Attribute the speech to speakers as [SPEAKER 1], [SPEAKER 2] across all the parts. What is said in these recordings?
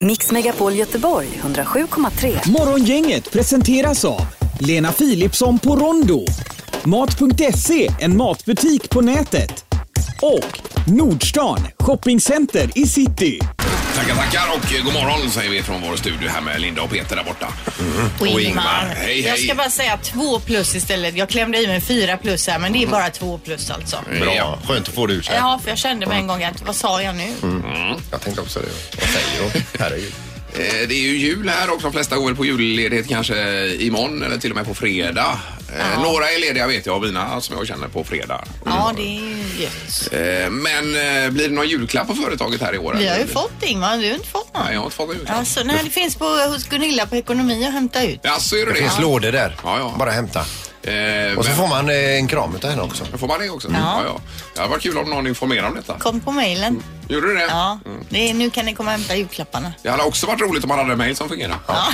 [SPEAKER 1] Mix Megapol Göteborg 107,3.
[SPEAKER 2] Morgongänget presenteras av Lena Philipsson på Rondo, Mat.se, en matbutik på nätet och Nordstan, shoppingcenter i city.
[SPEAKER 3] Tackar, tackar och eh, god morgon säger vi från vår studio här med Linda och Peter där borta.
[SPEAKER 4] Och Ingmar.
[SPEAKER 3] Hej,
[SPEAKER 4] Jag
[SPEAKER 3] hej.
[SPEAKER 4] ska bara säga två plus istället. Jag klämde i mig fyra plus här men det är bara två plus alltså.
[SPEAKER 3] Ja.
[SPEAKER 5] Bra, skönt att få det ur sig.
[SPEAKER 4] Ja, för jag kände med en gång att vad sa jag nu?
[SPEAKER 3] Mm.
[SPEAKER 5] Jag tänkte också det. Vad säger hon? Herregud.
[SPEAKER 3] Eh, Det är ju jul här och de flesta går väl på julledighet kanske imorgon eller till och med på fredag. Eh, Några är lediga vet jag, mina som jag känner på fredag.
[SPEAKER 4] Ja, det är ju gött.
[SPEAKER 3] Eh, Men eh, blir det någon julklapp på företaget här i år?
[SPEAKER 4] Vi
[SPEAKER 3] eller?
[SPEAKER 4] har ju fått Ingmar, du har inte fått
[SPEAKER 3] Nej, jag
[SPEAKER 4] någon.
[SPEAKER 3] har inte fått någon julklapp.
[SPEAKER 4] Alltså, nej, det finns på, hos Gunilla på ekonomi att hämta ut.
[SPEAKER 3] Jaså, är det
[SPEAKER 5] Det
[SPEAKER 3] det?
[SPEAKER 5] finns lådor där.
[SPEAKER 3] Ja, ja.
[SPEAKER 5] Bara hämta.
[SPEAKER 3] Eh,
[SPEAKER 5] Och så
[SPEAKER 3] men-
[SPEAKER 5] får man eh, en kram utav henne också.
[SPEAKER 3] Får man det också? Ja. ja, Det hade varit kul om någon informerade om detta.
[SPEAKER 4] Kom på mejlen.
[SPEAKER 3] Gjorde du det?
[SPEAKER 4] Ja, det är, nu kan ni komma och hämta julklapparna.
[SPEAKER 3] Det hade också varit roligt om man hade en mail som fungerar.
[SPEAKER 5] Ja.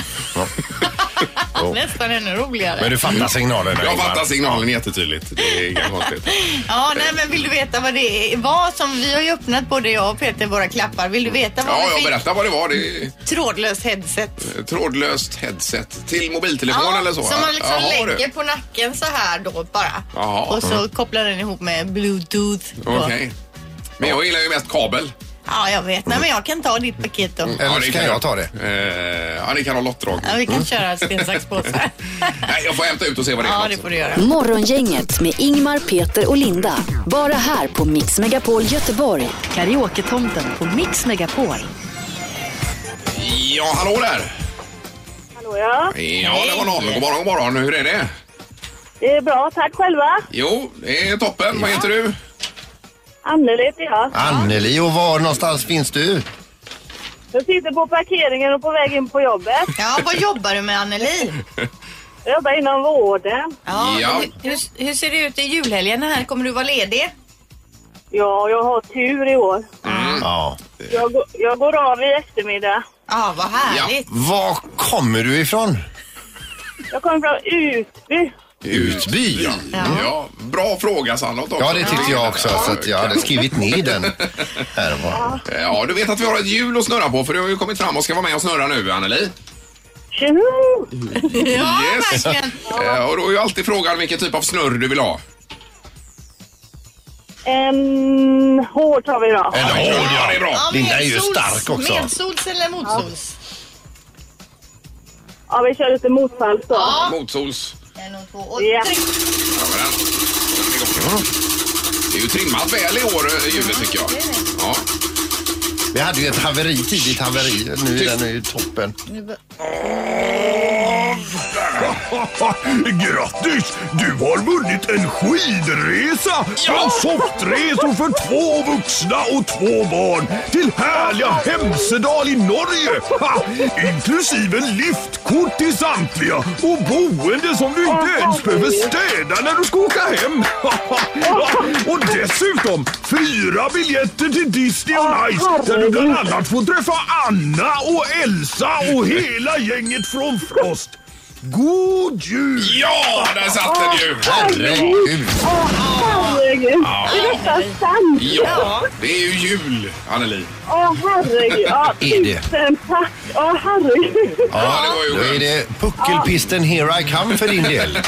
[SPEAKER 5] Jo.
[SPEAKER 4] Nästan ännu
[SPEAKER 5] Men
[SPEAKER 4] roligare.
[SPEAKER 5] du Mm. fattar signalerna
[SPEAKER 3] Jag
[SPEAKER 5] Ingmar.
[SPEAKER 3] fattar signalen jättetydligt. Det är inga konstigt.
[SPEAKER 4] Ja, nej, men vill du veta vad det är? Vad som, vi har ju öppnat både jag och Peter våra klappar. Vill du veta vad
[SPEAKER 3] Ja,
[SPEAKER 4] vi
[SPEAKER 3] jag
[SPEAKER 4] fick?
[SPEAKER 3] berättar vad det var. Det är
[SPEAKER 4] Trådlöst headset.
[SPEAKER 3] ett trådlöst headset till mobiltelefon eller så.
[SPEAKER 4] Som man liksom
[SPEAKER 3] Jaha, du.
[SPEAKER 4] lägger på nacken så här då bara.
[SPEAKER 3] Jaha.
[SPEAKER 4] Och så kopplar den ihop med bluetooth. då.
[SPEAKER 3] Okej. Men jag gillar ju mest kabel.
[SPEAKER 4] Ja, jag vet. Nej, men jag kan ta ditt paket då.
[SPEAKER 5] Eller
[SPEAKER 3] det
[SPEAKER 5] så kan
[SPEAKER 3] du.
[SPEAKER 5] jag ta det.
[SPEAKER 3] Eh, ja, ni kan ha lottdrag.
[SPEAKER 4] Ja, vi kan köra sten, sax, påse.
[SPEAKER 3] Nej, jag får hämta ut och se vad det är
[SPEAKER 4] Ja,
[SPEAKER 3] för
[SPEAKER 4] det
[SPEAKER 3] något.
[SPEAKER 4] får du göra.
[SPEAKER 1] Morgongänget med Ingmar, Peter och Linda. Bara här på Mix Megapol Göteborg. Karaoke-tomten på Mix Megapol.
[SPEAKER 3] Ja, hallå där!
[SPEAKER 6] Hallå ja.
[SPEAKER 3] Ja, det var någon. God morgon, god morgon. Hur är det?
[SPEAKER 6] Det är bra, tack själva.
[SPEAKER 3] Jo, det är toppen. Vad heter du?
[SPEAKER 6] Anneli heter jag.
[SPEAKER 5] Anneli, och var någonstans finns du?
[SPEAKER 6] Jag sitter på parkeringen och på väg in på jobbet.
[SPEAKER 4] Ja, vad jobbar du med Anneli?
[SPEAKER 6] Jag jobbar inom vården.
[SPEAKER 3] Ja.
[SPEAKER 4] Hur, hur, hur ser det ut i julhelgen här? Kommer du vara ledig?
[SPEAKER 6] Ja, jag har tur i år.
[SPEAKER 5] Ja.
[SPEAKER 6] Jag, går- jag går av i eftermiddag.
[SPEAKER 4] Ja, vad härligt.
[SPEAKER 5] Var kommer du ifrån?
[SPEAKER 6] Jag kommer från Utby.
[SPEAKER 5] Utby. Ja,
[SPEAKER 3] Ja, bra fråga Sandholt också.
[SPEAKER 5] ja det tyckte jag också. Så att jag hade skrivit ner den. Här var.
[SPEAKER 3] Ja, du vet att vi har ett hjul att snurra på för du har ju kommit fram och ska vara med och snurra nu, Anneli.
[SPEAKER 6] Tjoho!
[SPEAKER 4] Ja,
[SPEAKER 3] Yes.
[SPEAKER 4] verkligen.
[SPEAKER 3] Eh, Och då är ju alltid frågan vilken typ av snurr du vill ha.
[SPEAKER 6] En hårt har vi då.
[SPEAKER 5] En hård,
[SPEAKER 3] ja, det är bra.
[SPEAKER 4] Ja,
[SPEAKER 5] Linda är ju
[SPEAKER 4] medsols-
[SPEAKER 5] stark också.
[SPEAKER 4] Medsols eller motsols?
[SPEAKER 6] Ja, vi kör lite motfalls då.
[SPEAKER 4] Ja.
[SPEAKER 3] Motsols.
[SPEAKER 4] En och två och
[SPEAKER 6] Ja.
[SPEAKER 4] tre.
[SPEAKER 3] Ja, men den- den är igång. Det är ju trimmat väl i år, eh, hjulet tycker jag. Ja.
[SPEAKER 5] Vi hade ju ett haveri, tidigt haveri. Nu är den ju toppen.
[SPEAKER 7] Grattis! Du har vunnit en skidresa från Softresor för två vuxna och två barn till härliga Hemsedal i Norge. Ha! Inklusive liftkort till samtliga och boende som du inte ens behöver städa när du ska åka hem. Ha, ha. Ja, Och dessutom fyra biljetter till Disney on Ice där du bland annat får träffa Anna och Elsa och hela gänget från Frost. God jul!
[SPEAKER 3] Ja, där satt den ju!
[SPEAKER 5] Herregud.
[SPEAKER 6] Herregud. Det är nästan sant.
[SPEAKER 3] Ja, det är ju jul, Anneli.
[SPEAKER 6] Åh, herregud. Ja,
[SPEAKER 5] Är det?
[SPEAKER 6] tusen tack. Åh, herregud.
[SPEAKER 3] det
[SPEAKER 5] Ja,
[SPEAKER 3] var ju
[SPEAKER 5] då är
[SPEAKER 3] skönt.
[SPEAKER 5] det puckelpisten Here I Come för din del.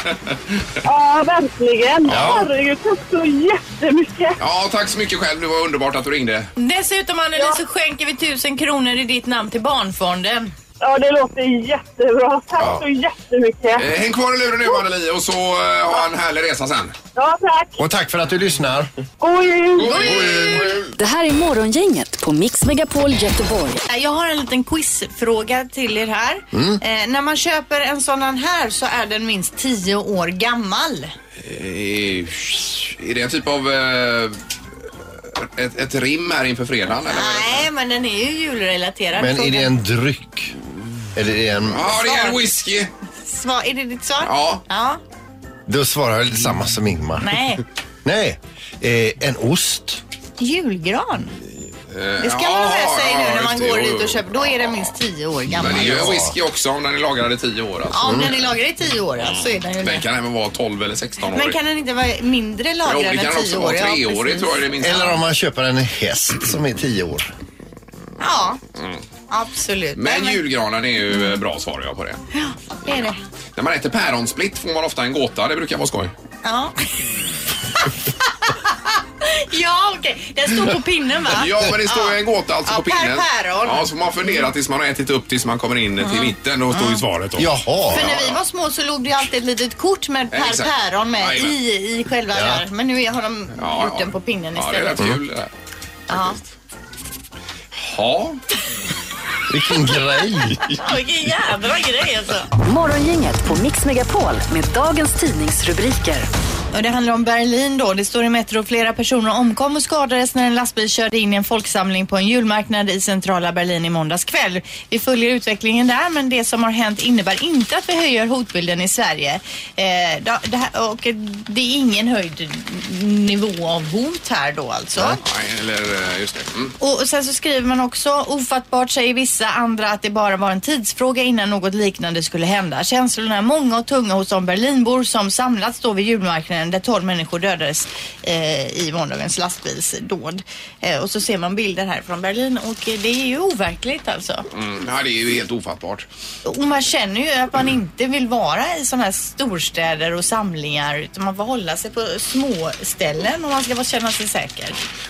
[SPEAKER 6] Ja, verkligen.
[SPEAKER 5] Ja.
[SPEAKER 6] Herregud, tack så jättemycket.
[SPEAKER 3] Ja, tack så mycket själv. Det var underbart att du ringde.
[SPEAKER 4] Dessutom Anneli så skänker vi tusen kronor i ditt namn till Barnfonden.
[SPEAKER 6] Ja, det låter jättebra. Tack så jättemycket.
[SPEAKER 3] Eh, Häng kvar i luren nu, Anneli, och så eh, ha en härlig resa sen.
[SPEAKER 6] Ja, tack.
[SPEAKER 5] Och tack för att du lyssnar.
[SPEAKER 6] God jul!
[SPEAKER 3] God jul! God jul!
[SPEAKER 1] Det här är Morgongänget på Mix Megapol Göteborg.
[SPEAKER 4] Jag har en liten quizfråga till er här.
[SPEAKER 3] Mm.
[SPEAKER 4] Eh, när man köper en sådan här så är den minst 10 år gammal.
[SPEAKER 3] Eh, Är det en typ av eh, ett, ett rim här inför fredagen? Eller? vad är det?
[SPEAKER 4] Nej, men den är ju julrelaterad.
[SPEAKER 5] Men är
[SPEAKER 4] Frågan-
[SPEAKER 5] det en dryck? Eller är det en...
[SPEAKER 3] Ja, det är en whisky.
[SPEAKER 4] Svar, är det ditt svar?
[SPEAKER 3] Ja.
[SPEAKER 4] ja.
[SPEAKER 5] Då svarar jag lite samma som Ingmar.
[SPEAKER 4] Nej.
[SPEAKER 5] Nej. Eh, en ost.
[SPEAKER 4] Julgran. Det ska
[SPEAKER 3] ja,
[SPEAKER 4] man ha med sig
[SPEAKER 3] ja,
[SPEAKER 4] nu när
[SPEAKER 3] just
[SPEAKER 4] man
[SPEAKER 3] det.
[SPEAKER 4] går
[SPEAKER 3] Jo,
[SPEAKER 4] ut
[SPEAKER 3] jo.
[SPEAKER 4] och köper. Då är den minst 10 år gammal.
[SPEAKER 3] Men det är ju
[SPEAKER 5] Ja.
[SPEAKER 3] whisky också om den är lagrad i tio år. Alltså.
[SPEAKER 4] Ja, om den är lagrad i 10 år ja, så är den ju
[SPEAKER 3] Den
[SPEAKER 4] det.
[SPEAKER 3] kan även vara 12 eller 16 år.
[SPEAKER 4] Men kan den inte vara mindre
[SPEAKER 3] jo,
[SPEAKER 4] lagrad
[SPEAKER 3] det
[SPEAKER 4] än
[SPEAKER 3] kan
[SPEAKER 4] 10
[SPEAKER 3] också
[SPEAKER 4] år?
[SPEAKER 3] vara
[SPEAKER 4] Ja,
[SPEAKER 3] treårig
[SPEAKER 4] precis.
[SPEAKER 3] tror jag det minsta.
[SPEAKER 5] Eller om man köper en häst som är tio år.
[SPEAKER 4] Ja. Absolut. Nej,
[SPEAKER 3] Mm. Men julgranen är ju eh, bra svar jag på det.
[SPEAKER 4] det är det.
[SPEAKER 3] När man äter päronsplitt får man ofta en gåta. Det brukar vara skoj.
[SPEAKER 4] Ja. ja, okej. Den står på pinnen va?
[SPEAKER 3] Ja, men det står ju en gåta alltså
[SPEAKER 4] Ja,
[SPEAKER 3] på pinnen.
[SPEAKER 4] Per päron.
[SPEAKER 3] Ja, så får man fundera tills man har ätit upp tills man kommer in till mitten. Då står ju svaret då.
[SPEAKER 5] Jaha.
[SPEAKER 4] För när vi var små så låg det ju alltid ett litet kort med
[SPEAKER 3] Ja,
[SPEAKER 4] Per
[SPEAKER 3] exakt.
[SPEAKER 4] Päron med
[SPEAKER 3] Jajamän.
[SPEAKER 4] i, i själva där. Men nu har de
[SPEAKER 3] Ja,
[SPEAKER 4] gjort
[SPEAKER 3] ja.
[SPEAKER 4] den på pinnen
[SPEAKER 3] Ja, det är
[SPEAKER 4] istället. Mm.
[SPEAKER 3] rätt kul det där.
[SPEAKER 4] Ja.
[SPEAKER 3] Ja,
[SPEAKER 5] Vilken grej.
[SPEAKER 4] Ja, Vilken jävla grej alltså.
[SPEAKER 1] Morgongänget på Mix Megapol med dagens tidningsrubriker.
[SPEAKER 4] Och det handlar om Berlin då. Det står i Metro flera personer omkom och skadades när en lastbil körde in i en folksamling på en julmarknad i centrala Berlin i måndags kväll. Vi följer utvecklingen där men det som har hänt innebär inte att vi höjer hotbilden i Sverige. Eh, da- det, här, och eh, det är ingen höjd nivå av hot här då alltså.
[SPEAKER 3] nej, eller eh, just det. Mm.
[SPEAKER 4] Och och sen så skriver man också ofattbart säger vissa andra att det bara var en tidsfråga innan något liknande skulle hända. Känslorna är många och tunga hos de Berlinbor som samlats då vid julmarknaden där 12 människor dödades eh, i måndagens lastbilsdåd. Eh, och så ser man bilder här från Berlin och eh, det är ju overkligt alltså.
[SPEAKER 3] Mm. Ja, det är ju helt ofattbart.
[SPEAKER 4] Och man känner ju att man inte vill vara i sådana här storstäder och samlingar utan man får hålla sig på små ställen om man ska vara- känna sig säker.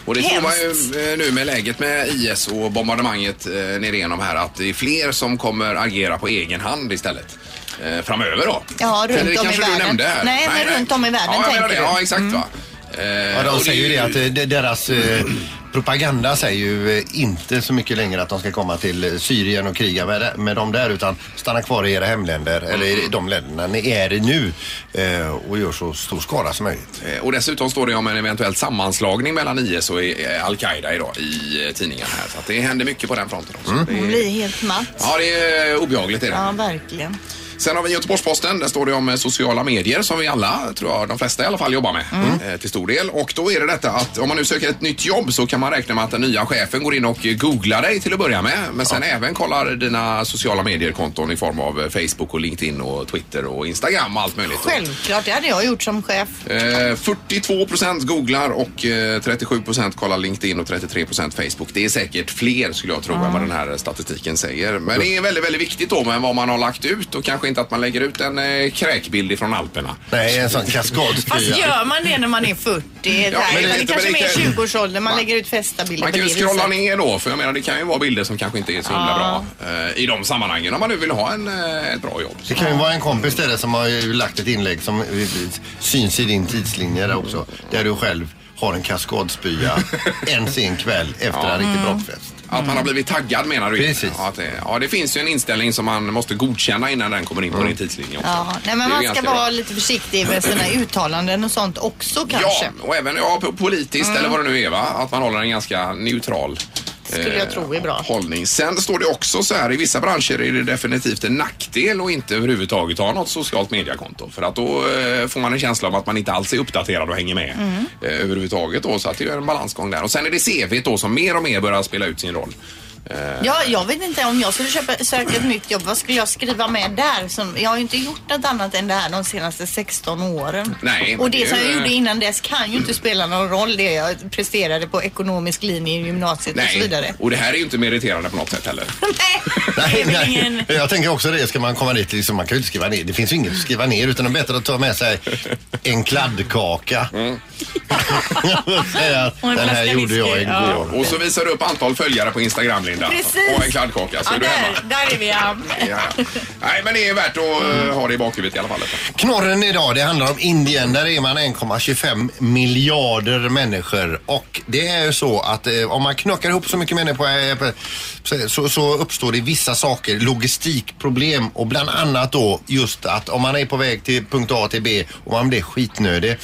[SPEAKER 3] Och det får man
[SPEAKER 4] Hemskt.
[SPEAKER 3] ju eh, nu med läget med IS och bombardemanget eh, nere igenom här att det är fler som kommer agera på egen hand istället. eh, Framöver då?
[SPEAKER 4] Ja, runt
[SPEAKER 3] Eller det
[SPEAKER 4] om i
[SPEAKER 3] kanske du
[SPEAKER 4] världen.
[SPEAKER 3] nämnde här.
[SPEAKER 4] Nej, men runt om i världen
[SPEAKER 3] ja, jag menar
[SPEAKER 4] tänker
[SPEAKER 3] det.
[SPEAKER 4] du. Mm.
[SPEAKER 3] Ja, exakt va. Eh,
[SPEAKER 5] Ja,
[SPEAKER 3] och
[SPEAKER 5] de
[SPEAKER 3] det
[SPEAKER 5] säger ju det
[SPEAKER 3] är
[SPEAKER 5] att eh, de- deras eh, propaganda säger ju eh, inte så mycket längre att de ska komma till eh, Syrien och kriga med, de- med dem där utan stanna kvar i era hemländer eller i de länderna ni är i nu eh, och gör så stor skada som möjligt.
[SPEAKER 3] Eh, Och dessutom står det om en eventuell sammanslagning mellan IS och eh, Al-Qaida idag i eh, tidningen här. Så att det händer mycket på den fronten också.
[SPEAKER 5] Mm.
[SPEAKER 4] Man blir helt matt.
[SPEAKER 3] Ja, det är eh, obehagligt är det.
[SPEAKER 4] Ja, verkligen.
[SPEAKER 3] Sen har vi Göteborgs-Posten. Där står det om eh, sociala medier som vi alla, tror jag, de flesta i alla fall jobbar med eh, till stor del. Och då är det detta att om man nu söker ett nytt jobb så kan man räkna med att den nya chefen går in och eh, googlar dig till att börja med. Men sen även kollar dina sociala medier-konton i form av eh, Facebook och LinkedIn och Twitter och Instagram och allt möjligt.
[SPEAKER 4] Självklart, det hade jag gjort som chef.
[SPEAKER 3] Eh, 42 procent googlar och eh, 37 procent kollar LinkedIn och 33 procent Facebook. Det är säkert fler skulle jag tro än vad den här statistiken säger. Men det är väldigt, väldigt viktigt då med vad man har lagt ut och kanske inte att man lägger ut en eh, kräkbild ifrån Alperna.
[SPEAKER 5] Nej, en sån
[SPEAKER 4] Fast
[SPEAKER 5] kaskadspya.
[SPEAKER 4] gör man det när man är 40?
[SPEAKER 3] Ja,
[SPEAKER 4] där,
[SPEAKER 3] men
[SPEAKER 4] det,
[SPEAKER 3] det-
[SPEAKER 4] det kanske
[SPEAKER 3] men det
[SPEAKER 4] är
[SPEAKER 3] kan-
[SPEAKER 4] 20-årsåldern man
[SPEAKER 3] Man-
[SPEAKER 4] lägger ut festa bilder
[SPEAKER 3] Man
[SPEAKER 4] på
[SPEAKER 3] kan
[SPEAKER 4] det
[SPEAKER 3] ju scrolla
[SPEAKER 4] viset.
[SPEAKER 3] ner då, för jag menar det kan ju vara bilder som kanske inte är så himla bra eh, i de sammanhangen om man nu vill ha en, eh, ett bra jobb.
[SPEAKER 5] Det kan ju vara en kompis till dig som har ju lagt ett inlägg som eh, syns i din tidslinje där också. Där du själv har en kaskadspya en sen kväll efter en riktig brottfest.
[SPEAKER 3] Att man har blivit taggad menar du?
[SPEAKER 5] Precis.
[SPEAKER 3] Ja, att det, ja, det finns ju en inställning som man måste godkänna innan den kommer in på din tidslinje också.
[SPEAKER 4] Ja, nej,
[SPEAKER 3] Det är
[SPEAKER 4] men
[SPEAKER 3] ju
[SPEAKER 4] man ska
[SPEAKER 3] ganska bra.
[SPEAKER 4] vara lite försiktig med sina uttalanden och sånt också kanske. Mm.
[SPEAKER 3] Ja, Eh, och även ja, po- politiskt eller vad det nu är va? Att man håller en ganska neutral eh,
[SPEAKER 4] Skulle jag tro är bra.
[SPEAKER 3] hållning. Sen står det också så här, i vissa branscher är det definitivt en nackdel att inte överhuvudtaget ha något socialt mediekonto. För att då eh, får man en känsla av att man inte alls är uppdaterad och hänger med
[SPEAKER 4] Mm.
[SPEAKER 3] eh, överhuvudtaget. Då, så att det är en balansgång där. Och sen är det CV då som mer och mer börjar spela ut sin roll.
[SPEAKER 4] Ja, jag vet inte om jag skulle köpa, söka ett nytt jobb, vad skulle jag skriva med där? Som, jag har ju inte gjort något annat än det här de senaste 16 åren.
[SPEAKER 3] Nej, men
[SPEAKER 4] och det,
[SPEAKER 3] det är
[SPEAKER 4] som
[SPEAKER 3] ju-
[SPEAKER 4] jag gjorde innan dess kan ju inte spela någon roll det jag presterade på ekonomisk linje i gymnasiet och så vidare.
[SPEAKER 3] och det här är ju inte meriterande på något sätt heller.
[SPEAKER 4] Nej, det är väl ingen...
[SPEAKER 5] Jag tänker också det, ska man komma dit liksom, man kan ju inte skriva ner, det finns ju inget att skriva ner utan det är bättre att ta med sig en kladdkaka. Säga,
[SPEAKER 4] Och en
[SPEAKER 5] Den här
[SPEAKER 4] flaska
[SPEAKER 5] gjorde jag
[SPEAKER 4] whisky, ja.
[SPEAKER 5] igår.
[SPEAKER 3] Och så visar du upp antal följare på Instagram Linda.
[SPEAKER 4] Precis.
[SPEAKER 3] Och en kladdkaka så
[SPEAKER 4] Ja,
[SPEAKER 3] är du hemma.
[SPEAKER 4] där, där är vi ja.
[SPEAKER 3] Ja, ja. Nej, men det är värt att
[SPEAKER 5] Mm.
[SPEAKER 3] eh, ha det i bakhuvudet i alla fall. detta.
[SPEAKER 5] Knorren idag, det handlar om Indien. Där är man 1,25 miljarder människor. Och det är ju så att eh, om man knockar ihop så mycket människor eh, på- så- så, så uppstår det vissa saker, logistikproblem och bland annat då just att om man är på väg till punkt A till B och man blir skitnödig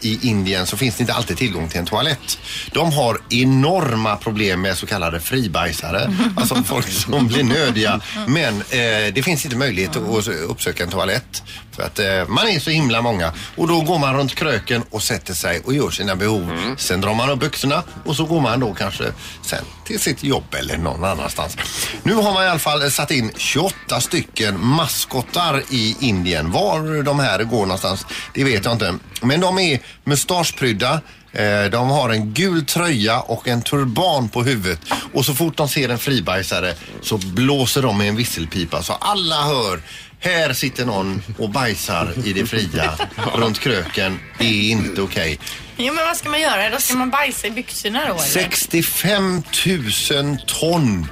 [SPEAKER 5] i Indien så finns det inte alltid tillgång till en toalett. De har enorma problem med så kallade fribajsare, alltså folk som blir nödiga. Men eh, det finns inte möjlighet att uppsöka en toalett för att eh, man är så himla många. Och då går man runt kröken och sätter sig och gör sina behov. Sen drar man upp byxorna och så går man då kanske sen till sitt jobb eller någon annanstans. Nu har man i alla fall satt in 28 stycken maskottar i Indien. Var de här går någonstans, det vet jag inte. Men de är mustaschprydda, Eh, de har en gul tröja och en turban på huvudet. Och så fort de ser en fribajsare så blåser de med en visselpipa så alla hör här sitter någon och bajsar i det fria runt kröken. Det är inte okej.
[SPEAKER 4] Jo, men vad ska man göra? Då ska man bajsa i byxorna då, eller?
[SPEAKER 5] 65 000 ton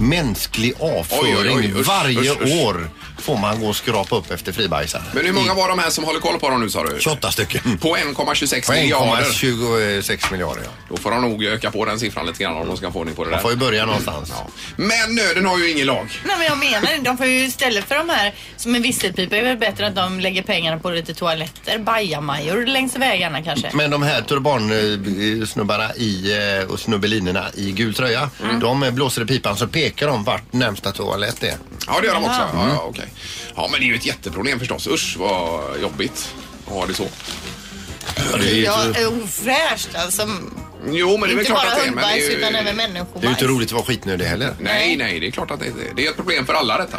[SPEAKER 5] mänsklig avföring
[SPEAKER 3] Oj, oj, oj, usch,
[SPEAKER 5] varje
[SPEAKER 3] usch, usch.
[SPEAKER 5] år får man gå och skrapa upp efter fribajsare.
[SPEAKER 3] Men hur många var de här som håller koll på dem nu sa du?
[SPEAKER 5] 28 stycken.
[SPEAKER 3] På 1,26
[SPEAKER 5] På
[SPEAKER 3] miljarder.
[SPEAKER 5] 1,26 miljarder. Ja.
[SPEAKER 3] Då får de nog öka på den siffran lite grann om de ska få ordning på det
[SPEAKER 5] Man får
[SPEAKER 3] där.
[SPEAKER 5] ju börja någonstans.
[SPEAKER 3] Men nöden har ju ingen lag.
[SPEAKER 4] Nej men jag menar det. de får ju istället för de här som är visselpipa är väl bättre att de lägger pengarna på lite toaletter, bajamajor längs vägarna kanske.
[SPEAKER 5] Men de här turbansnubbarna i, eh, och snubbelinerna i gul tröja,
[SPEAKER 3] Mm.
[SPEAKER 5] de eh, blåser i pipan så pekar de vart närmsta toalett är.
[SPEAKER 3] Ja, det gör de också. Ja,
[SPEAKER 5] Mm.
[SPEAKER 3] ja, okej. ja, men det är ju ett jätteproblem förstås. Usch vad jobbigt att ha det så.
[SPEAKER 4] Ja, ofräscht alltså.
[SPEAKER 3] Jo, men det är väl
[SPEAKER 4] Inte
[SPEAKER 3] klart
[SPEAKER 4] bara
[SPEAKER 3] att det är. Men det
[SPEAKER 4] hundbajs
[SPEAKER 3] är ju...
[SPEAKER 4] utan även
[SPEAKER 5] Det är ju
[SPEAKER 4] människobajs.
[SPEAKER 5] inte roligt att vara skitnödig heller.
[SPEAKER 3] Nej, nej, det är klart att det är. Det är ett problem för alla detta.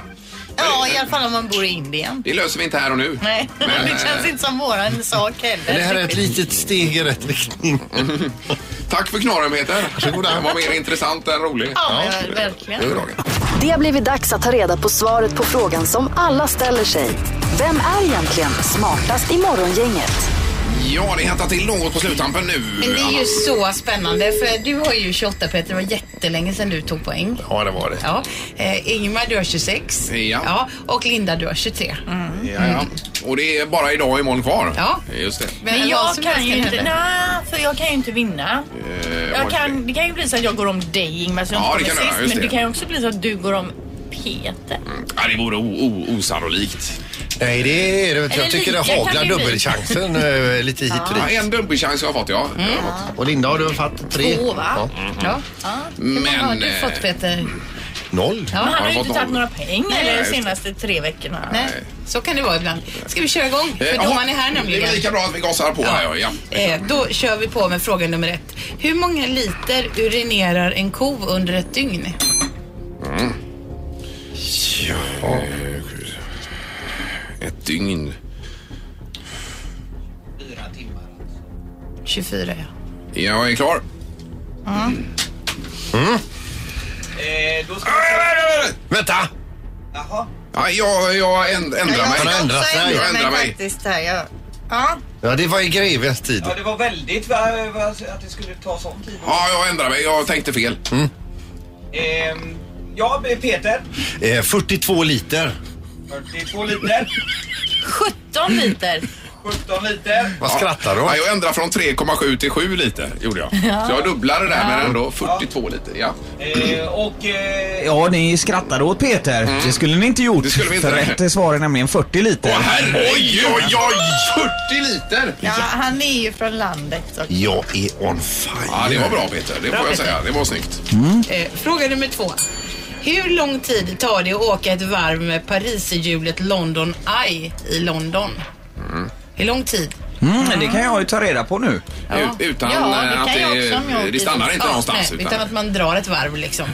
[SPEAKER 4] Ja, i alla fall om man bor i Indien.
[SPEAKER 3] Det löser vi inte här och nu. eh,
[SPEAKER 4] Nej, men det känns inte som våran sak heller.
[SPEAKER 5] Men det här är ett litet steg i rätt riktning.
[SPEAKER 3] Tack för knorrenheter.
[SPEAKER 5] Varsågoda.
[SPEAKER 3] Det var mer intressant än rolig.
[SPEAKER 4] Ja, men verkligen.
[SPEAKER 3] Det var dagen.
[SPEAKER 1] Det har blivit dags att ta reda på svaret på frågan som alla ställer sig. Vem är egentligen smartast i morgongänget?
[SPEAKER 3] Ja, det hettar till något på sluttampen nu.
[SPEAKER 8] Men det är
[SPEAKER 3] Anna.
[SPEAKER 8] ju så spännande för du har ju 28 Peter, det var jättelänge sedan du tog poäng.
[SPEAKER 5] Ja, det var det.
[SPEAKER 8] Ja. Eh, Ingmar du har 26.
[SPEAKER 3] Ja.
[SPEAKER 8] Och Linda du har 23.
[SPEAKER 4] Mm.
[SPEAKER 3] Ja, ja. Och det är bara idag och imorgon kvar.
[SPEAKER 8] Ja.
[SPEAKER 3] Just det.
[SPEAKER 4] Men
[SPEAKER 8] vad
[SPEAKER 4] jag
[SPEAKER 8] som
[SPEAKER 4] kan
[SPEAKER 8] helst
[SPEAKER 4] ju inte,
[SPEAKER 8] hända.
[SPEAKER 4] nej, för jag kan ju inte vinna.
[SPEAKER 3] Eh,
[SPEAKER 4] Jag
[SPEAKER 3] vad-
[SPEAKER 4] kan, det kan ju bli så att jag går om dig Ingmar, så jag
[SPEAKER 3] Ja,
[SPEAKER 4] inte
[SPEAKER 3] det kan
[SPEAKER 4] kommer
[SPEAKER 3] det,
[SPEAKER 4] sist.
[SPEAKER 3] just
[SPEAKER 4] men
[SPEAKER 3] det.
[SPEAKER 4] det Mm. kan ju också bli så att du går om Peter.
[SPEAKER 3] Ja, det vore o- o- osannolikt.
[SPEAKER 5] Nej, det är det. inte.
[SPEAKER 4] Eller
[SPEAKER 5] Jag tycker det
[SPEAKER 4] lika kan
[SPEAKER 5] haglar
[SPEAKER 4] det bli.
[SPEAKER 5] dubbelchansen eh, lite hit och
[SPEAKER 3] Ja,
[SPEAKER 5] dit.
[SPEAKER 3] en dubbelchans har jag fått,
[SPEAKER 8] Mm.
[SPEAKER 3] ja.
[SPEAKER 5] Och Linda, har du fått tre?
[SPEAKER 8] Två va?
[SPEAKER 5] Ja.
[SPEAKER 8] Ja. Hur många har
[SPEAKER 3] Men...
[SPEAKER 8] du
[SPEAKER 3] eh,
[SPEAKER 8] fått Peter?
[SPEAKER 5] Noll.
[SPEAKER 8] Ja.
[SPEAKER 4] Han
[SPEAKER 3] har
[SPEAKER 4] har ju
[SPEAKER 3] fått
[SPEAKER 4] inte tagit
[SPEAKER 3] noll.
[SPEAKER 4] några poäng
[SPEAKER 8] Nej,
[SPEAKER 4] eller de
[SPEAKER 3] just det.
[SPEAKER 4] senaste tre veckorna.
[SPEAKER 8] Nej. Så kan det vara ibland. Ska vi köra igång? För
[SPEAKER 3] eh,
[SPEAKER 8] då
[SPEAKER 3] jaha,
[SPEAKER 8] man är här
[SPEAKER 3] Det är väl
[SPEAKER 8] nämligen.
[SPEAKER 3] lika bra att vi gasar på här, ja. ja.
[SPEAKER 8] Eh, då kör vi på med fråga nummer ett. Hur många liter urinerar en ko under ett dygn?
[SPEAKER 3] Ett dygn.
[SPEAKER 8] 24 ja.
[SPEAKER 3] Jag är klar. Mm.
[SPEAKER 4] Eh,
[SPEAKER 5] Vänta!
[SPEAKER 3] Ja, jag, jag änd- ändrar mig.
[SPEAKER 5] Han har ändrat
[SPEAKER 4] Så
[SPEAKER 5] sig.
[SPEAKER 3] jag ändrar mig.
[SPEAKER 4] faktiskt här. Jag, ja.
[SPEAKER 5] Ja, det var i grevens tid.
[SPEAKER 9] Ja, det var väldigt va, va, att det skulle ta sån tid.
[SPEAKER 3] Ja, jag ändrar mig. Jag tänkte fel.
[SPEAKER 2] Mm,
[SPEAKER 9] Ehm, ja, Peter.
[SPEAKER 5] Eh, 42 liter.
[SPEAKER 9] 42 liter.
[SPEAKER 4] 17 liter.
[SPEAKER 9] 17 liter.
[SPEAKER 5] Vad skrattar du
[SPEAKER 3] Ja,
[SPEAKER 5] åt?
[SPEAKER 3] jag ändrade från 3,7 till 7 liter, gjorde jag. Så jag dubblade där, men ändå 42 liter. Ja.
[SPEAKER 9] Ehm, och... Eh,
[SPEAKER 2] Ja, ni skrattade åt Peter. Det skulle ni inte gjort.
[SPEAKER 3] Mm. Det skulle vi inte.
[SPEAKER 2] För rätt svar är nämligen 40 liter.
[SPEAKER 3] Åh, herre, oj, oj, oj! 40 liter!
[SPEAKER 4] Ja, han är ju från landet. Så.
[SPEAKER 5] Jag är on fire.
[SPEAKER 3] Ja, det var bra Peter. Det får jag säga. Det var snyggt.
[SPEAKER 8] Eh, fråga nummer två. Hur lång tid tar det att åka ett varv med Pariserhjulet London Eye i London? Hur lång tid?
[SPEAKER 2] Mm, det kan jag ju ta reda på nu.
[SPEAKER 3] U- Utan
[SPEAKER 4] Ja, det
[SPEAKER 3] eh,
[SPEAKER 4] kan
[SPEAKER 3] att
[SPEAKER 4] jag också om jag
[SPEAKER 3] det,
[SPEAKER 4] åker
[SPEAKER 3] det stannar inte
[SPEAKER 8] Ja,
[SPEAKER 3] någonstans.
[SPEAKER 8] nej,
[SPEAKER 3] utan,
[SPEAKER 8] utan att man drar ett varv liksom.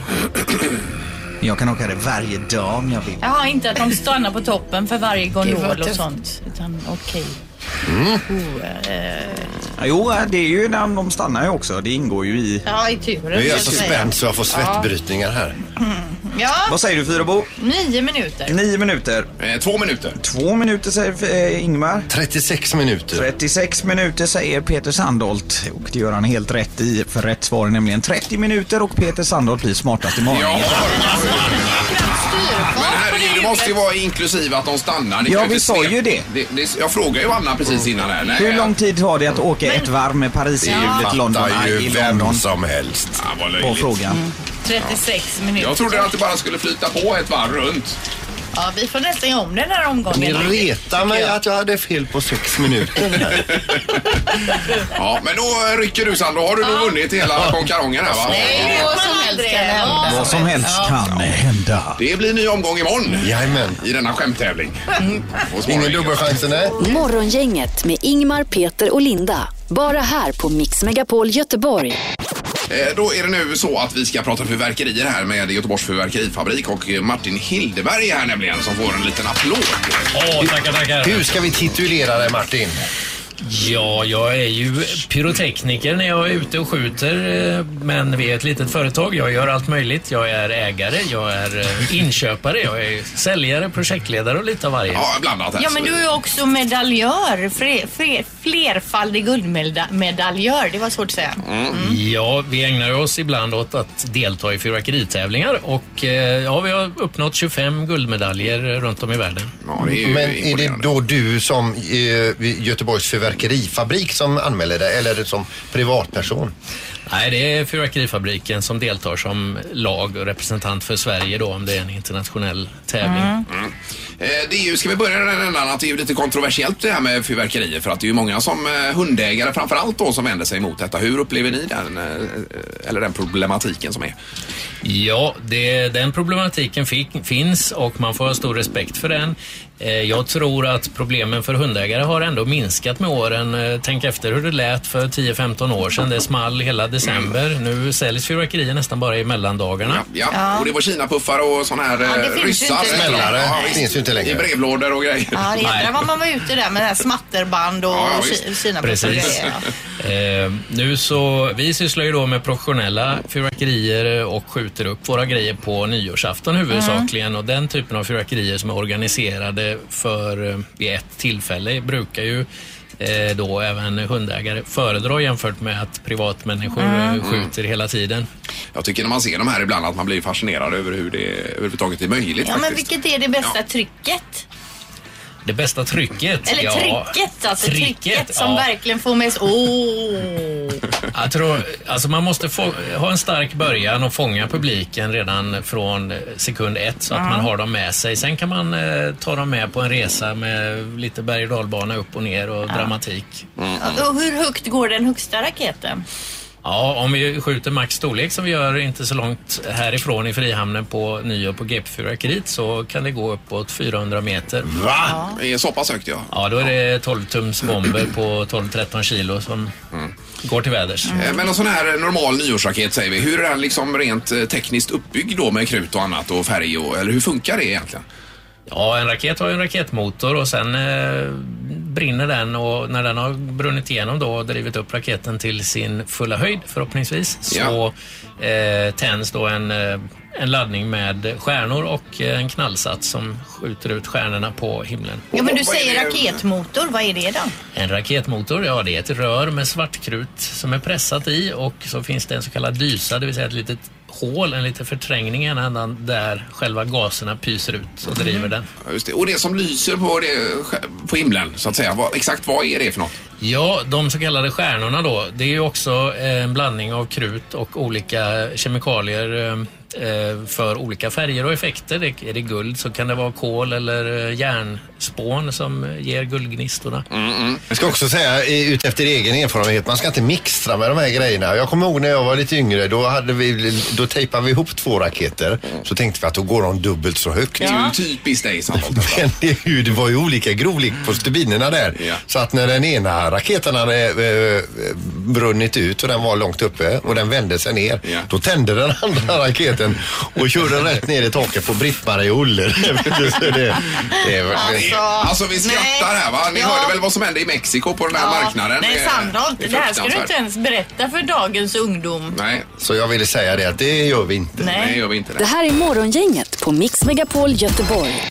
[SPEAKER 2] Jag kan åka det varje dag om jag vill.
[SPEAKER 4] Jaha, inte att de stannar på toppen för varje
[SPEAKER 8] Gud, vad
[SPEAKER 4] gondola och
[SPEAKER 8] tufft.
[SPEAKER 4] sånt. Utan okej.
[SPEAKER 2] Ja, Jo, äh, det är ju när de stannar ju också. Det ingår ju i...
[SPEAKER 4] Ja, i turen.
[SPEAKER 5] Nu är
[SPEAKER 4] så
[SPEAKER 5] jag
[SPEAKER 4] att
[SPEAKER 5] så
[SPEAKER 4] säga.
[SPEAKER 5] spänd så jag får svettbrytningar här.
[SPEAKER 4] Ja,
[SPEAKER 2] Vad säger du Fyrabo?
[SPEAKER 4] nio minuter.
[SPEAKER 2] Nio minuter.
[SPEAKER 3] eh, två minuter.
[SPEAKER 2] Två minuter säger eh, Ingmar.
[SPEAKER 5] 36 minuter.
[SPEAKER 2] 36 minuter säger Peter Sandholt och det gör han helt rätt i för rätt svar är nämligen 30 minuter och Peter Sandholt blir smartast i morgon.
[SPEAKER 3] Ja, men
[SPEAKER 4] Styrfart alltså på det
[SPEAKER 3] herregud, det måste ju vara inklusive att de stannar. Det
[SPEAKER 2] Ja,
[SPEAKER 3] kan
[SPEAKER 2] vi
[SPEAKER 3] inte
[SPEAKER 2] sa
[SPEAKER 3] se-
[SPEAKER 2] ju det.
[SPEAKER 3] Jag frågade ju Anna precis innan här. Nej,
[SPEAKER 2] Hur lång tid tar det att åka ett varv med Pariserhjulet London
[SPEAKER 5] Fattar
[SPEAKER 2] i
[SPEAKER 5] ju vem
[SPEAKER 2] London?
[SPEAKER 5] som helst. Mm.
[SPEAKER 3] Ja, vad
[SPEAKER 2] På
[SPEAKER 3] löjligt.
[SPEAKER 2] frågan.
[SPEAKER 4] 36 minuter.
[SPEAKER 3] Jag trodde att det bara skulle flyta på ett varv runt.
[SPEAKER 4] Ja, vi får nästan göra om den här omgången.
[SPEAKER 5] Ni retar mig
[SPEAKER 4] jag.
[SPEAKER 5] att jag hade fel på sex minuter. här.
[SPEAKER 3] Ja, men då eh, rycker du Sandra. Då har du nog vunnit hela konkarongen här va?
[SPEAKER 8] Nej, vad som
[SPEAKER 4] man
[SPEAKER 8] helst
[SPEAKER 4] aldrig.
[SPEAKER 8] kan hända.
[SPEAKER 2] Vad som helst kan hända.
[SPEAKER 3] Det blir ny omgång imorgon
[SPEAKER 5] Jajamän.
[SPEAKER 3] i denna skämttävling.
[SPEAKER 4] Mm.
[SPEAKER 3] Och så-
[SPEAKER 5] Ingen dubbelchans nej.
[SPEAKER 1] Morgongänget med Ingmar, Peter och Linda. Bara här på Mix Megapol Göteborg.
[SPEAKER 3] Eh, Då är det nu så att vi ska prata fyrverkerier här med Göteborgs fyrverkerifabrik och eh, Martin Hildeberg här nämligen som får en liten applåd.
[SPEAKER 10] Åh, tackar, tackar.
[SPEAKER 5] Hur ska vi titulera dig Martin?
[SPEAKER 10] Ja, jag är ju pyrotekniker när jag är ute och skjuter. eh, Men vi är ett litet företag. Jag gör allt möjligt. Jag är ägare, jag är eh, inköpare, jag är säljare, projektledare och lite av varje.
[SPEAKER 3] Ja, blandat.
[SPEAKER 4] Ja, men du är ju också medaljör. Fre, fre, flerfaldig guldmedaljör. Det var svårt att säga.
[SPEAKER 3] Mm.
[SPEAKER 10] Ja, vi ägnar ju oss ibland åt att delta i fyrverkeritävlingar och eh, ja, vi har uppnått 25 guldmedaljer runt om i världen.
[SPEAKER 5] Men är det då du som eh, Göteborgs fyrverkerifabrik som anmäler dig eller som privatperson?
[SPEAKER 10] Nej, det är Fyrverkerifabriken som deltar som lag och representant för Sverige då om det är en internationell tävling.
[SPEAKER 3] Mm. Eh, Det är ju, ska vi börja i den ändan att det är ju lite kontroversiellt det här med fyrverkerier för att det är ju många som eh, hundägare framförallt då som vänder sig emot detta. Hur upplever ni den, eh, eller den problematiken som är?
[SPEAKER 10] Ja, det, den problematiken fick, finns och man får ha stor respekt för den. Eh, Jag tror att problemen för hundägare har ändå minskat med åren. Eh, Tänk efter hur det lät för 10-15 år sedan. Det small hela december. Nu säljs fyrverkerier nästan bara i mellandagarna.
[SPEAKER 3] Ja, och det var kinapuffar och sådana här
[SPEAKER 4] det
[SPEAKER 3] eh,
[SPEAKER 4] finns ju
[SPEAKER 3] ryssar.
[SPEAKER 4] inte längre. Smällare.
[SPEAKER 3] Ja,
[SPEAKER 4] Det
[SPEAKER 3] visst.
[SPEAKER 5] finns ju inte längre.
[SPEAKER 3] I brevlådor och grejer.
[SPEAKER 4] Ja, det jädrar vad man var ute där med det här smatterband och
[SPEAKER 10] Ja,
[SPEAKER 4] ja,
[SPEAKER 10] ja, visst.
[SPEAKER 4] Kina
[SPEAKER 10] Precis. Eh, nu så, vi sysslar ju då med professionella fyrverkerier och skjuter upp våra grejer på nyårsafton huvudsakligen.
[SPEAKER 4] Mm.
[SPEAKER 10] Och den typen av fyrverkerier som är organiserade för eh, vid ett tillfälle brukar ju eh, då även hundägare föredra jämfört med att privatmänniskor eh,
[SPEAKER 3] Mm.
[SPEAKER 10] skjuter hela tiden.
[SPEAKER 3] Jag tycker när man ser de här ibland att man blir fascinerad över hur det överhuvudtaget är möjligt
[SPEAKER 4] Ja, men
[SPEAKER 3] faktiskt.
[SPEAKER 4] vilket är det bästa trycket?
[SPEAKER 10] Det bästa trycket?
[SPEAKER 4] Eller
[SPEAKER 10] ja,
[SPEAKER 4] trycket, alltså trycket,
[SPEAKER 10] trycket,
[SPEAKER 4] som
[SPEAKER 10] ja.
[SPEAKER 4] verkligen får mig så... Åh!
[SPEAKER 10] Jag tror, alltså man måste få, ha en stark början och fånga publiken redan från sekund ett så att
[SPEAKER 4] Ja.
[SPEAKER 10] man har dem med sig. Sen kan man eh, ta dem med på en resa med lite berg och dalbana upp och ner och dramatik.
[SPEAKER 4] Och hur högt går den högsta raketen?
[SPEAKER 10] Ja, om vi skjuter max storlek som vi gör inte så långt härifrån i Frihamnen på nyår på GP-fyrverkeriet så kan det gå uppåt 400 meter.
[SPEAKER 3] Va? Det är så pass högt ja.
[SPEAKER 10] Ja, då är det 12 tums bomber på 12-13 kilo som går till väders.
[SPEAKER 3] Eh, Men en sån här normal nyårsraket säger vi, hur är den liksom rent eh, tekniskt uppbyggd då med krut och annat och färg och, eller hur funkar det egentligen?
[SPEAKER 10] Ja, en raket har ju en raketmotor och sen eh, brinner den och när den har brunnit igenom då och drivit upp raketen till sin fulla höjd förhoppningsvis så eh, tänds då en, eh, en laddning med stjärnor och eh, en knallsats som skjuter ut stjärnorna på himlen.
[SPEAKER 4] Ja, men du säger raketmotor. Vad är det då?
[SPEAKER 10] En raketmotor, ja det är ett rör med svartkrut som är pressat i och så finns det en så kallad dysa, det vill säga ett litet hål, en liten förträngning i ena ändan där själva gaserna pyser ut och driver den.
[SPEAKER 3] Ja, Just det. Och det som lyser på, det, på himlen så att säga, vad, exakt vad är det för något?
[SPEAKER 10] Ja, de så kallade stjärnorna då, det är ju också eh, en blandning av krut och olika kemikalier eh, eh, för olika färger och effekter. Det- Är det guld så kan det vara kol eller eh, järnspån som eh, ger guldgnistorna.
[SPEAKER 5] Jag ska också säga eh, utefter egen erfarenhet, man ska inte mixtra med de här grejerna. Jag kommer ihåg när jag var lite yngre, då, hade vi, då tejpade vi ihop två raketer. Så tänkte vi att då går de dubbelt så högt.
[SPEAKER 3] Det är ju typiskt dig Sandholt.
[SPEAKER 5] Men det, är ju- det var ju olika grovlek på stubinerna där. Så att när den ena raketen hade eh, brunnit ut och den var långt uppe och den vände sig ner. Då tände den andra raketen och körde rätt ner i taket på Britt-Marie och Olle. Så det, det, det,
[SPEAKER 3] Alltså, alltså vi skrattar här va? Ni
[SPEAKER 4] Ja.
[SPEAKER 3] hörde väl vad som hände i Mexiko på den här marknaden?
[SPEAKER 4] Nej,
[SPEAKER 3] Eh,
[SPEAKER 4] Sandholt,
[SPEAKER 3] är
[SPEAKER 4] det här ska du
[SPEAKER 3] fruktansvärt.
[SPEAKER 4] inte ens berätta för dagens ungdom.
[SPEAKER 3] Nej.
[SPEAKER 5] Så jag ville säga det att det gör vi inte.
[SPEAKER 4] Nej. Nej,
[SPEAKER 3] gör vi inte
[SPEAKER 1] Det här är Morgongänget på Mix Megapol Göteborg.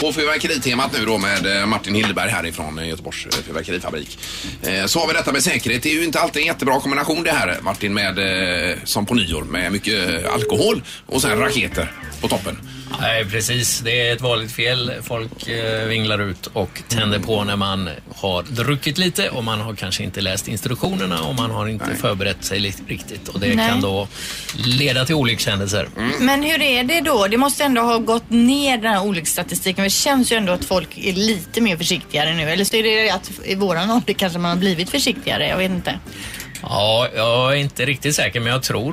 [SPEAKER 3] På fyrverkeritemat nu då med eh, Martin Hildeberg härifrån eh, Göteborgs eh, fyrverkerifabrik. Eh, Så har vi detta med säkerhet. Det är ju inte alltid en jättebra kombination det här Martin med eh, som på nyår med mycket eh, alkohol och sen raketer på toppen.
[SPEAKER 10] Nej, precis. Det är ett vanligt fel. Folk eh, vinglar ut och tänder på när man har druckit lite och man har kanske inte läst instruktionerna och man har inte förberett sig li- riktigt. Och det
[SPEAKER 4] Nej.
[SPEAKER 10] kan då leda till olyckshändelser.
[SPEAKER 4] Men hur är det då? Det måste ändå ha gått ner den här olycksstatistiken. Det känns ju ändå att folk är lite mer försiktigare nu. Eller så är det att i våran ålder kanske man har blivit försiktigare. Jag vet inte.
[SPEAKER 10] Ja, jag är inte riktigt säker men jag tror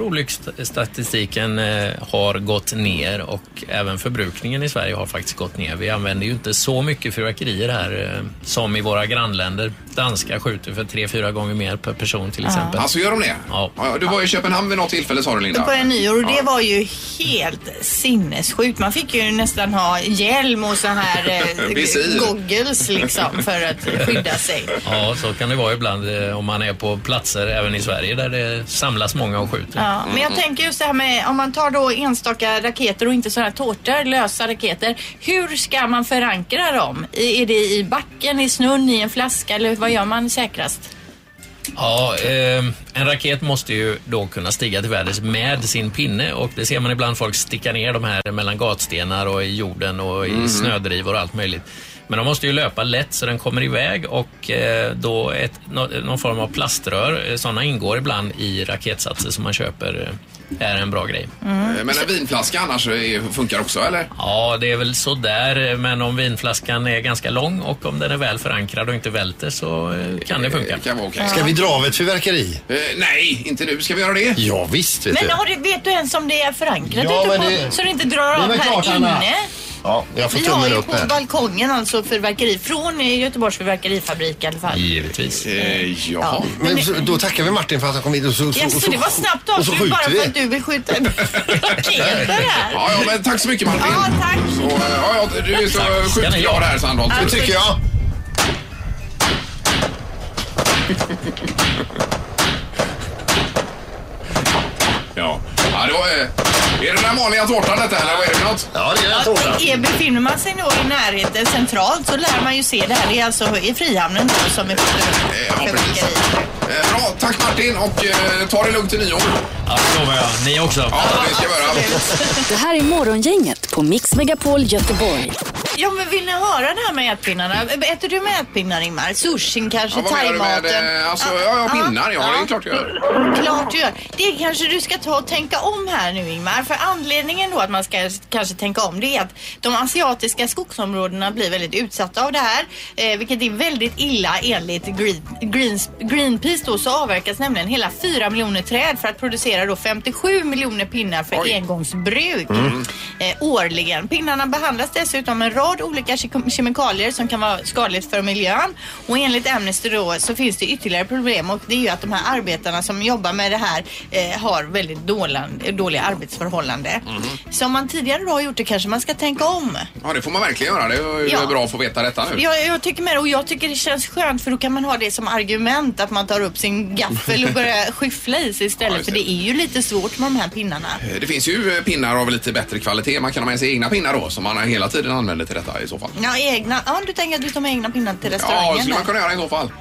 [SPEAKER 10] olycksstatistiken eh, har gått ner och även förbrukningen i Sverige har faktiskt gått ner. Vi använder ju inte så mycket fyrverkerier här eh, som i våra grannländer. Danskar skjuter för tre, fyra gånger mer per person till
[SPEAKER 4] Ja.
[SPEAKER 10] exempel.
[SPEAKER 3] Alltså gör de det?
[SPEAKER 10] Ja.
[SPEAKER 3] Du var i Köpenhamn vid något tillfälle sa du Linda.
[SPEAKER 4] på en nyår och det
[SPEAKER 3] Ja.
[SPEAKER 4] var ju helt sinnessjukt. Man fick ju nästan ha hjälm och så här
[SPEAKER 10] Visir.
[SPEAKER 4] eh, goggles liksom för att skydda sig.
[SPEAKER 10] Ja, så kan det vara ibland eh, om man är på platser även i Sverige där det samlas många och skjuter.
[SPEAKER 4] Ja, men jag tänker just det här med om man tar då enstaka raketer och inte sådana här tårtor, lösa raketer. Hur ska man förankra dem? I, är det i backen, i snön, i en flaska eller vad gör man säkrast?
[SPEAKER 10] Ja, eh, en raket måste ju då kunna stiga till världens med sin pinne och det ser man ibland folk sticka ner de här mellan gatstenar och i jorden och i
[SPEAKER 11] Mhm.
[SPEAKER 10] snödrivor och allt möjligt. Men de måste ju löpa lätt så den kommer iväg och eh, då ett, nå- någon form av plaströr, eh, sådana ingår ibland i raketsatser som man köper, eh, är en bra grej.
[SPEAKER 3] Eh, Men en vinflaska annars eh, är, funkar också eller?
[SPEAKER 10] Ja, det är väl sådär, eh, men om vinflaskan är ganska lång och om den är väl förankrad och inte välter så eh, kan det funka.
[SPEAKER 3] Kan vara okej. Eh,
[SPEAKER 5] Ska vi dra av ett fyrverkeri?
[SPEAKER 3] nej, inte nu. Ska vi göra det?
[SPEAKER 5] Ja, visst vet
[SPEAKER 4] Men
[SPEAKER 5] du.
[SPEAKER 4] har du, vet du ens om det är förankrat
[SPEAKER 5] Ja,
[SPEAKER 4] ute
[SPEAKER 5] men
[SPEAKER 4] på,
[SPEAKER 5] det-
[SPEAKER 4] så det inte
[SPEAKER 5] det
[SPEAKER 4] drar
[SPEAKER 5] är
[SPEAKER 4] av
[SPEAKER 5] väl
[SPEAKER 4] här
[SPEAKER 5] klart,
[SPEAKER 4] inne?
[SPEAKER 5] Anna. Ja, jag får
[SPEAKER 4] Vi har
[SPEAKER 5] tummen
[SPEAKER 4] ju
[SPEAKER 5] upp
[SPEAKER 4] på
[SPEAKER 5] här.
[SPEAKER 4] balkongen alltså fyrverkeri från eh, Göteborgs fyrverkerifabrik i alla fall.
[SPEAKER 5] Mm.
[SPEAKER 10] Givetvis.
[SPEAKER 3] Eh,
[SPEAKER 4] Ja.
[SPEAKER 5] ja. Men så, då tackar vi Martin för att han kom hit och så, och så, och
[SPEAKER 4] Jaså,
[SPEAKER 5] så,
[SPEAKER 4] det var snabbt
[SPEAKER 5] och så
[SPEAKER 4] avslut bara
[SPEAKER 5] skjuter
[SPEAKER 4] för att
[SPEAKER 5] vi.
[SPEAKER 4] du vill skjuta raketer här.
[SPEAKER 3] Ja, ja, men tack så mycket Martin.
[SPEAKER 4] Ja, tack.
[SPEAKER 3] Så, eh, ja, ja, du är så
[SPEAKER 4] Tack
[SPEAKER 3] eh,
[SPEAKER 4] ska
[SPEAKER 3] sjukt
[SPEAKER 4] ni
[SPEAKER 3] glad
[SPEAKER 4] ha.
[SPEAKER 3] här Sandholt.
[SPEAKER 4] Det tycker jag.
[SPEAKER 3] Ja, ja det var, eh, är det den vanliga tårtan detta eller vad är det för något?
[SPEAKER 5] Ja, det
[SPEAKER 4] Ja, det är- befinner man sig då i närheten centralt så lär man ju se det här. Det är alltså i Frihamnen då som är
[SPEAKER 3] Eh, bra, tack Martin och eh, ta det lugnt till nyår.
[SPEAKER 10] Ja, det lovar jag. Ni också.
[SPEAKER 3] Ja, det ska vi göra.
[SPEAKER 1] Det här är Morgongänget på Mix Megapol Göteborg.
[SPEAKER 4] Ja, men vill ni höra det här med ätpinnarna? Äter du med ätpinnar, Ingmar? Sushin kanske,
[SPEAKER 3] Ja, vad menar du med,
[SPEAKER 4] thaimaten?
[SPEAKER 3] eh, alltså, ja, ja, pinnar, ja, det är klart jag gör.
[SPEAKER 4] Klart du gör. Det kanske du ska ta och tänka om här nu, Ingmar. För anledningen då att man ska kanske tänka om det är att de asiatiska skogsområdena blir väldigt utsatta av det här, eh, vilket är väldigt illa enligt Green, Greens, Greenpeace då så avverkas nämligen hela 4 miljoner träd för att producera då 57 miljoner pinnar för engångsbruk
[SPEAKER 12] Mm.
[SPEAKER 4] eh, årligen. Pinnarna behandlas dessutom med en rad olika ke- kemikalier som kan vara skadligt för miljön. Och enligt Amnesty då så finns det ytterligare problem och det är ju att de här arbetarna som jobbar med det här eh, har väldigt dåliga, dåliga arbetsförhållanden. Så om man tidigare då har gjort det kanske man ska tänka om.
[SPEAKER 3] Ja, det får man verkligen göra. Det är ju
[SPEAKER 4] Ja.
[SPEAKER 3] bra att få veta detta nu.
[SPEAKER 4] Jag, jag tycker med det, och jag tycker det känns skönt för då kan man ha det som argument att man tar upp sin gaffel och börjar skyffla i sig istället för det är ju lite svårt med de här pinnarna.
[SPEAKER 3] Eh, Det finns ju eh, pinnar av lite bättre kvalitet. Man kan ha med sig egna pinnar då som man hela tiden använder till detta i så fall.
[SPEAKER 4] Ja, egna. Ja, du tänker att du tar med egna pinnar till
[SPEAKER 3] Ja,
[SPEAKER 4] restaurangen?
[SPEAKER 3] det skulle man
[SPEAKER 4] där.
[SPEAKER 3] kunna göra i så fall.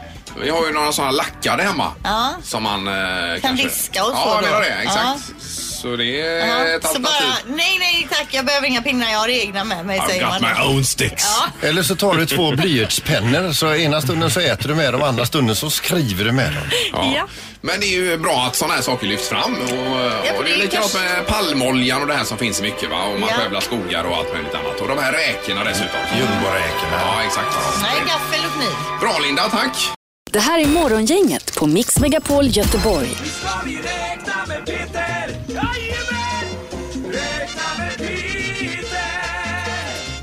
[SPEAKER 3] Vi har ju några sådana lackade hemma.
[SPEAKER 4] Ja.
[SPEAKER 3] Som man eh, kan kanske...
[SPEAKER 4] viska och så
[SPEAKER 3] Ja, jag
[SPEAKER 4] då.
[SPEAKER 3] menar det. Exakt.
[SPEAKER 4] Ja.
[SPEAKER 3] Så det är ett
[SPEAKER 4] Så
[SPEAKER 3] alternativ.
[SPEAKER 4] bara, nej, nej tack, jag behöver inga pinnar, jag har egna med mig, säger man.
[SPEAKER 5] sticks. Eller så tar du två blyertspennor så ena stunden så äter du med dem andra stunden så skriver du med dem.
[SPEAKER 3] Ja. Men det är ju bra att sådana här saker lyfts fram. Och, eh, och det är
[SPEAKER 4] det
[SPEAKER 3] likadant
[SPEAKER 4] kanske-
[SPEAKER 3] med palmoljan och det här som finns mycket va. Och man
[SPEAKER 4] Ja.
[SPEAKER 3] skövlar skogar och allt möjligt annat. Och de här räkorna dessutom. Jumboräkorna. Ja, exakt.
[SPEAKER 4] Nej, gaffel och kniv.
[SPEAKER 3] Bra Linda, tack.
[SPEAKER 1] Det här är Morgongänget på Mix Megapol Göteborg.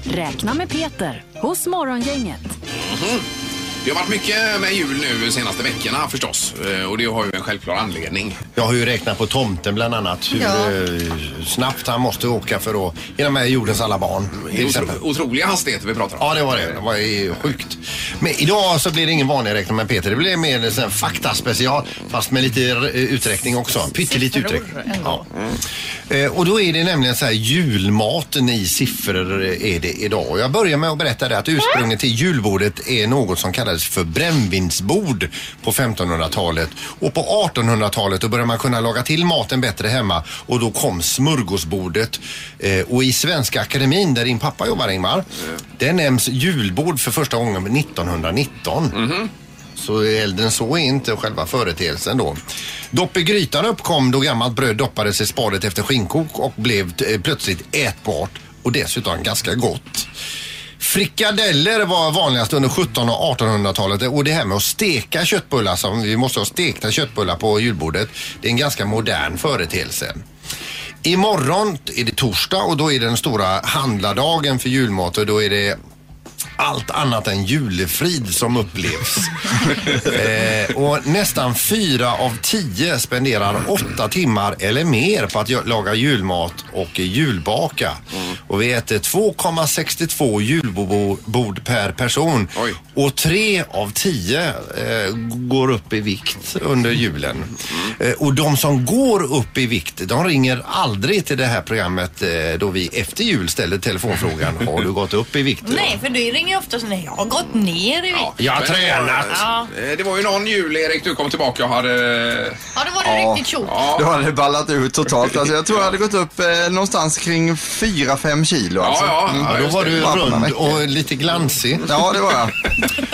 [SPEAKER 1] Räkna med Peter hos Morgongänget.
[SPEAKER 3] Mhm. Det har varit mycket med jul nu de senaste veckorna förstås. Eh, Och det har ju en självklar anledning.
[SPEAKER 5] Jag har ju räknat på tomten bland annat. Hur
[SPEAKER 3] Ja.
[SPEAKER 5] eh, snabbt han måste åka för att hinna med jordens alla barn.
[SPEAKER 3] Det är otro, otroliga hastigheter vi pratar om.
[SPEAKER 5] Ja, det var det. Det var ju sjukt. Men idag så blir det ingen vanlig räkning med Peter. Det blir mer en sån här faktaspecial fast med lite eh, uträkning också. Pyttelite
[SPEAKER 4] Siffror
[SPEAKER 5] uträkning.
[SPEAKER 4] ändå.
[SPEAKER 5] Ja. Eh, Och då är det nämligen så här julmaten i siffror är det idag. Och jag börjar med att berätta det att ursprunget till julbordet är något som kallades för brännvinsbord på 1500-talet. Och på 1800-talet då började man kunna laga till maten bättre hemma och då kom smörgåsbordet. Eh, Och i Svenska Akademin där din pappa jobbar Ingmar, det nämns julbord för första gången 1919. Så äldre än så är inte själva företeelsen då. Dopp i grytan uppkom då gammalt bröd doppades i spadet efter skinnkok och blev eh, plötsligt ätbart och dessutom ganska gott. Frikadeller var vanligast under 1700 och 1800-talet och det här med att steka köttbullar, som vi måste ha stekta köttbullar på julbordet, det är en ganska modern företeelse. Imorgon är det torsdag och då är det den stora handlardagen för julmat och då är det allt annat än julefrid som upplevs. eh, och nästan fyra av tio spenderar åtta timmar eller mer på att gö- laga julmat och julbaka. Och vi äter 2,62 julbord per person. Och tre av tio eh, går upp i vikt under julen. Eh, och de som går upp i vikt, de ringer aldrig till det här programmet eh, då vi efter jul ställer telefonfrågan. Har du gått upp i vikt? idag?"
[SPEAKER 4] Nej, för du ringer ju ofta så nej, jag har gått ner i vikt.
[SPEAKER 5] Jag har
[SPEAKER 3] Men det var-
[SPEAKER 5] tränat.
[SPEAKER 4] Ja.
[SPEAKER 3] Eh, Det var ju någon jul, Erik, du kom tillbaka och hade...
[SPEAKER 4] Ja, då var det riktigt tjockt.
[SPEAKER 11] Då hade det ballat ut totalt. Alltså, jag tror jag hade gått upp eh, någonstans kring 4-5 kilo. Alltså. Mm.
[SPEAKER 5] Ja, då var du
[SPEAKER 11] Bara på några
[SPEAKER 5] rund
[SPEAKER 11] veckor.
[SPEAKER 5] och lite glansig.
[SPEAKER 11] Ja, det var jag.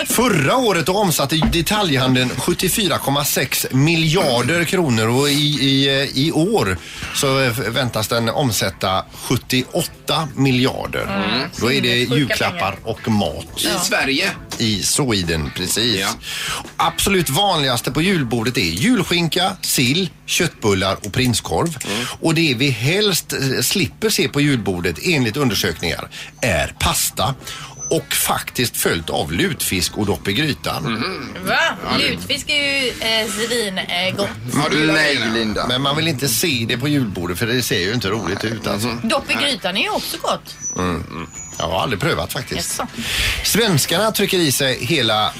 [SPEAKER 5] Förra året då omsatte detaljhandeln 74,6 miljarder kronor och i, i, eh, i år så eh, väntas den omsätta 78 miljarder.
[SPEAKER 3] Mm.
[SPEAKER 5] Då är det
[SPEAKER 3] Sinnessjuka
[SPEAKER 5] julklappar och mat.
[SPEAKER 3] I Sverige.
[SPEAKER 5] I Sweden, precis. Absolut vanligaste på julbordet är julskinka, sill, köttbullar och prinskorv. Och det vi helst eh, slipper se på julbordet enligt undersökningar är pasta och faktiskt följt av lutfisk och dopp i grytan.
[SPEAKER 4] Va?
[SPEAKER 5] Ja, det-
[SPEAKER 4] Lutfisk är ju eh, svin, eh, gott.
[SPEAKER 5] Nej, Linda. Men man vill inte se det på julbordet för det ser ju inte roligt ut alltså.
[SPEAKER 4] Dopp i grytan är ju också gott.
[SPEAKER 5] Mm. Jag har aldrig prövat faktiskt.
[SPEAKER 4] Jaså.
[SPEAKER 5] Svenskarna trycker i sig hela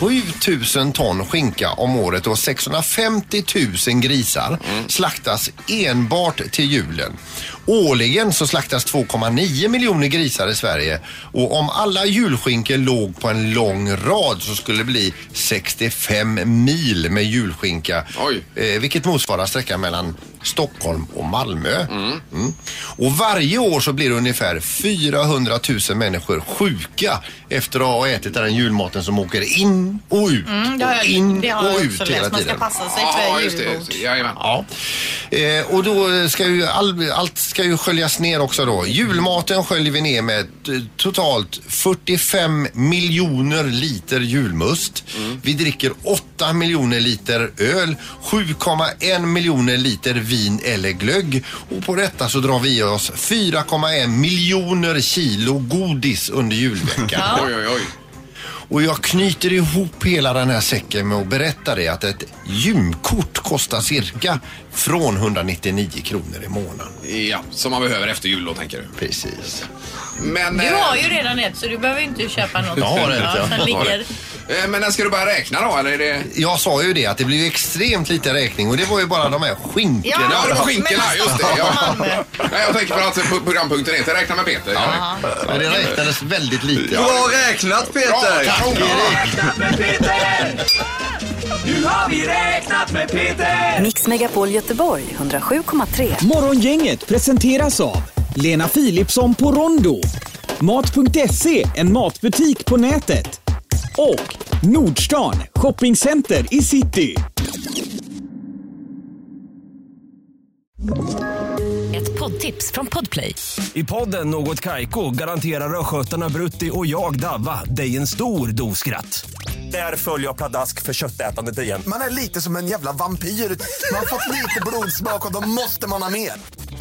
[SPEAKER 5] 7000 ton skinka om året och 650 000 grisar slaktas enbart till julen. Årligen så slaktas 2,9 miljoner grisar i Sverige och om alla julskinkor låg på en lång rad så skulle det bli 65 mil med julskinka. Eh, vilket motsvarar sträckan mellan Stockholm och Malmö. Mm. Och varje år så blir ungefär 400 000 människor sjuka efter att ha ätit den julmaten som åker in och ut.
[SPEAKER 4] Mm, det har jag,
[SPEAKER 5] och in
[SPEAKER 4] det har
[SPEAKER 5] och
[SPEAKER 4] jag
[SPEAKER 5] ut
[SPEAKER 4] också
[SPEAKER 5] hela
[SPEAKER 4] läst. Man ska
[SPEAKER 5] tiden.
[SPEAKER 4] passa sig för julbord.
[SPEAKER 5] Ja. Eh, och då ska ju all, allt ska ju sköljas ner också då. Julmaten sköljer vi ner med t- totalt 45 miljoner liter julmust. Vi dricker 8 miljoner liter öl, 7,1 miljoner liter vin eller glögg och på detta så drar vi i oss 4,1 miljoner kilo godis under julveckan.
[SPEAKER 3] Ja. Oj, oj, oj.
[SPEAKER 5] Och jag knyter ihop hela den här säcken med att berätta det att ett gymkort kostar cirka från 199 kronor i månaden.
[SPEAKER 3] Ja, som man behöver efter jul då, tänker du.
[SPEAKER 5] Precis.
[SPEAKER 3] Men...
[SPEAKER 4] Du
[SPEAKER 3] eh,
[SPEAKER 4] har ju redan ett så du behöver ju inte köpa något.
[SPEAKER 5] Jag har ett,
[SPEAKER 4] ja.
[SPEAKER 5] ja.
[SPEAKER 4] Som ligger.
[SPEAKER 3] Eh, Men när ska du börja räkna då? Eller är det...
[SPEAKER 5] Jag sa ju det att det blev extremt lite räkning och det var ju bara de här skinkorna.
[SPEAKER 3] Ja, det var skinkorna, just det. Ja. Nej, jag tänker på att pro- programpunkten heter Räkna med Peter. Ja.
[SPEAKER 5] Men det räknades väldigt lite.
[SPEAKER 11] Bra räknat Peter!
[SPEAKER 3] Bra, kanon.
[SPEAKER 1] Nu har vi räknat med Peter! Mix Megapol Göteborg 107,3.
[SPEAKER 2] Morgongänget presenteras av Lena Philipsson på Rondo, Mat.se, en matbutik på nätet och Nordstan, shoppingcenter i city.
[SPEAKER 1] Ett poddtips från Podplay.
[SPEAKER 12] I podden Något Kaiko garanterar östgötarna Brutti och jag, Davva, dig en stor dos skratt. Där följer jag pladask för köttätandet igen.
[SPEAKER 13] Man är lite som en jävla vampyr. Man har fått lite blodsmak och då måste man ha mer.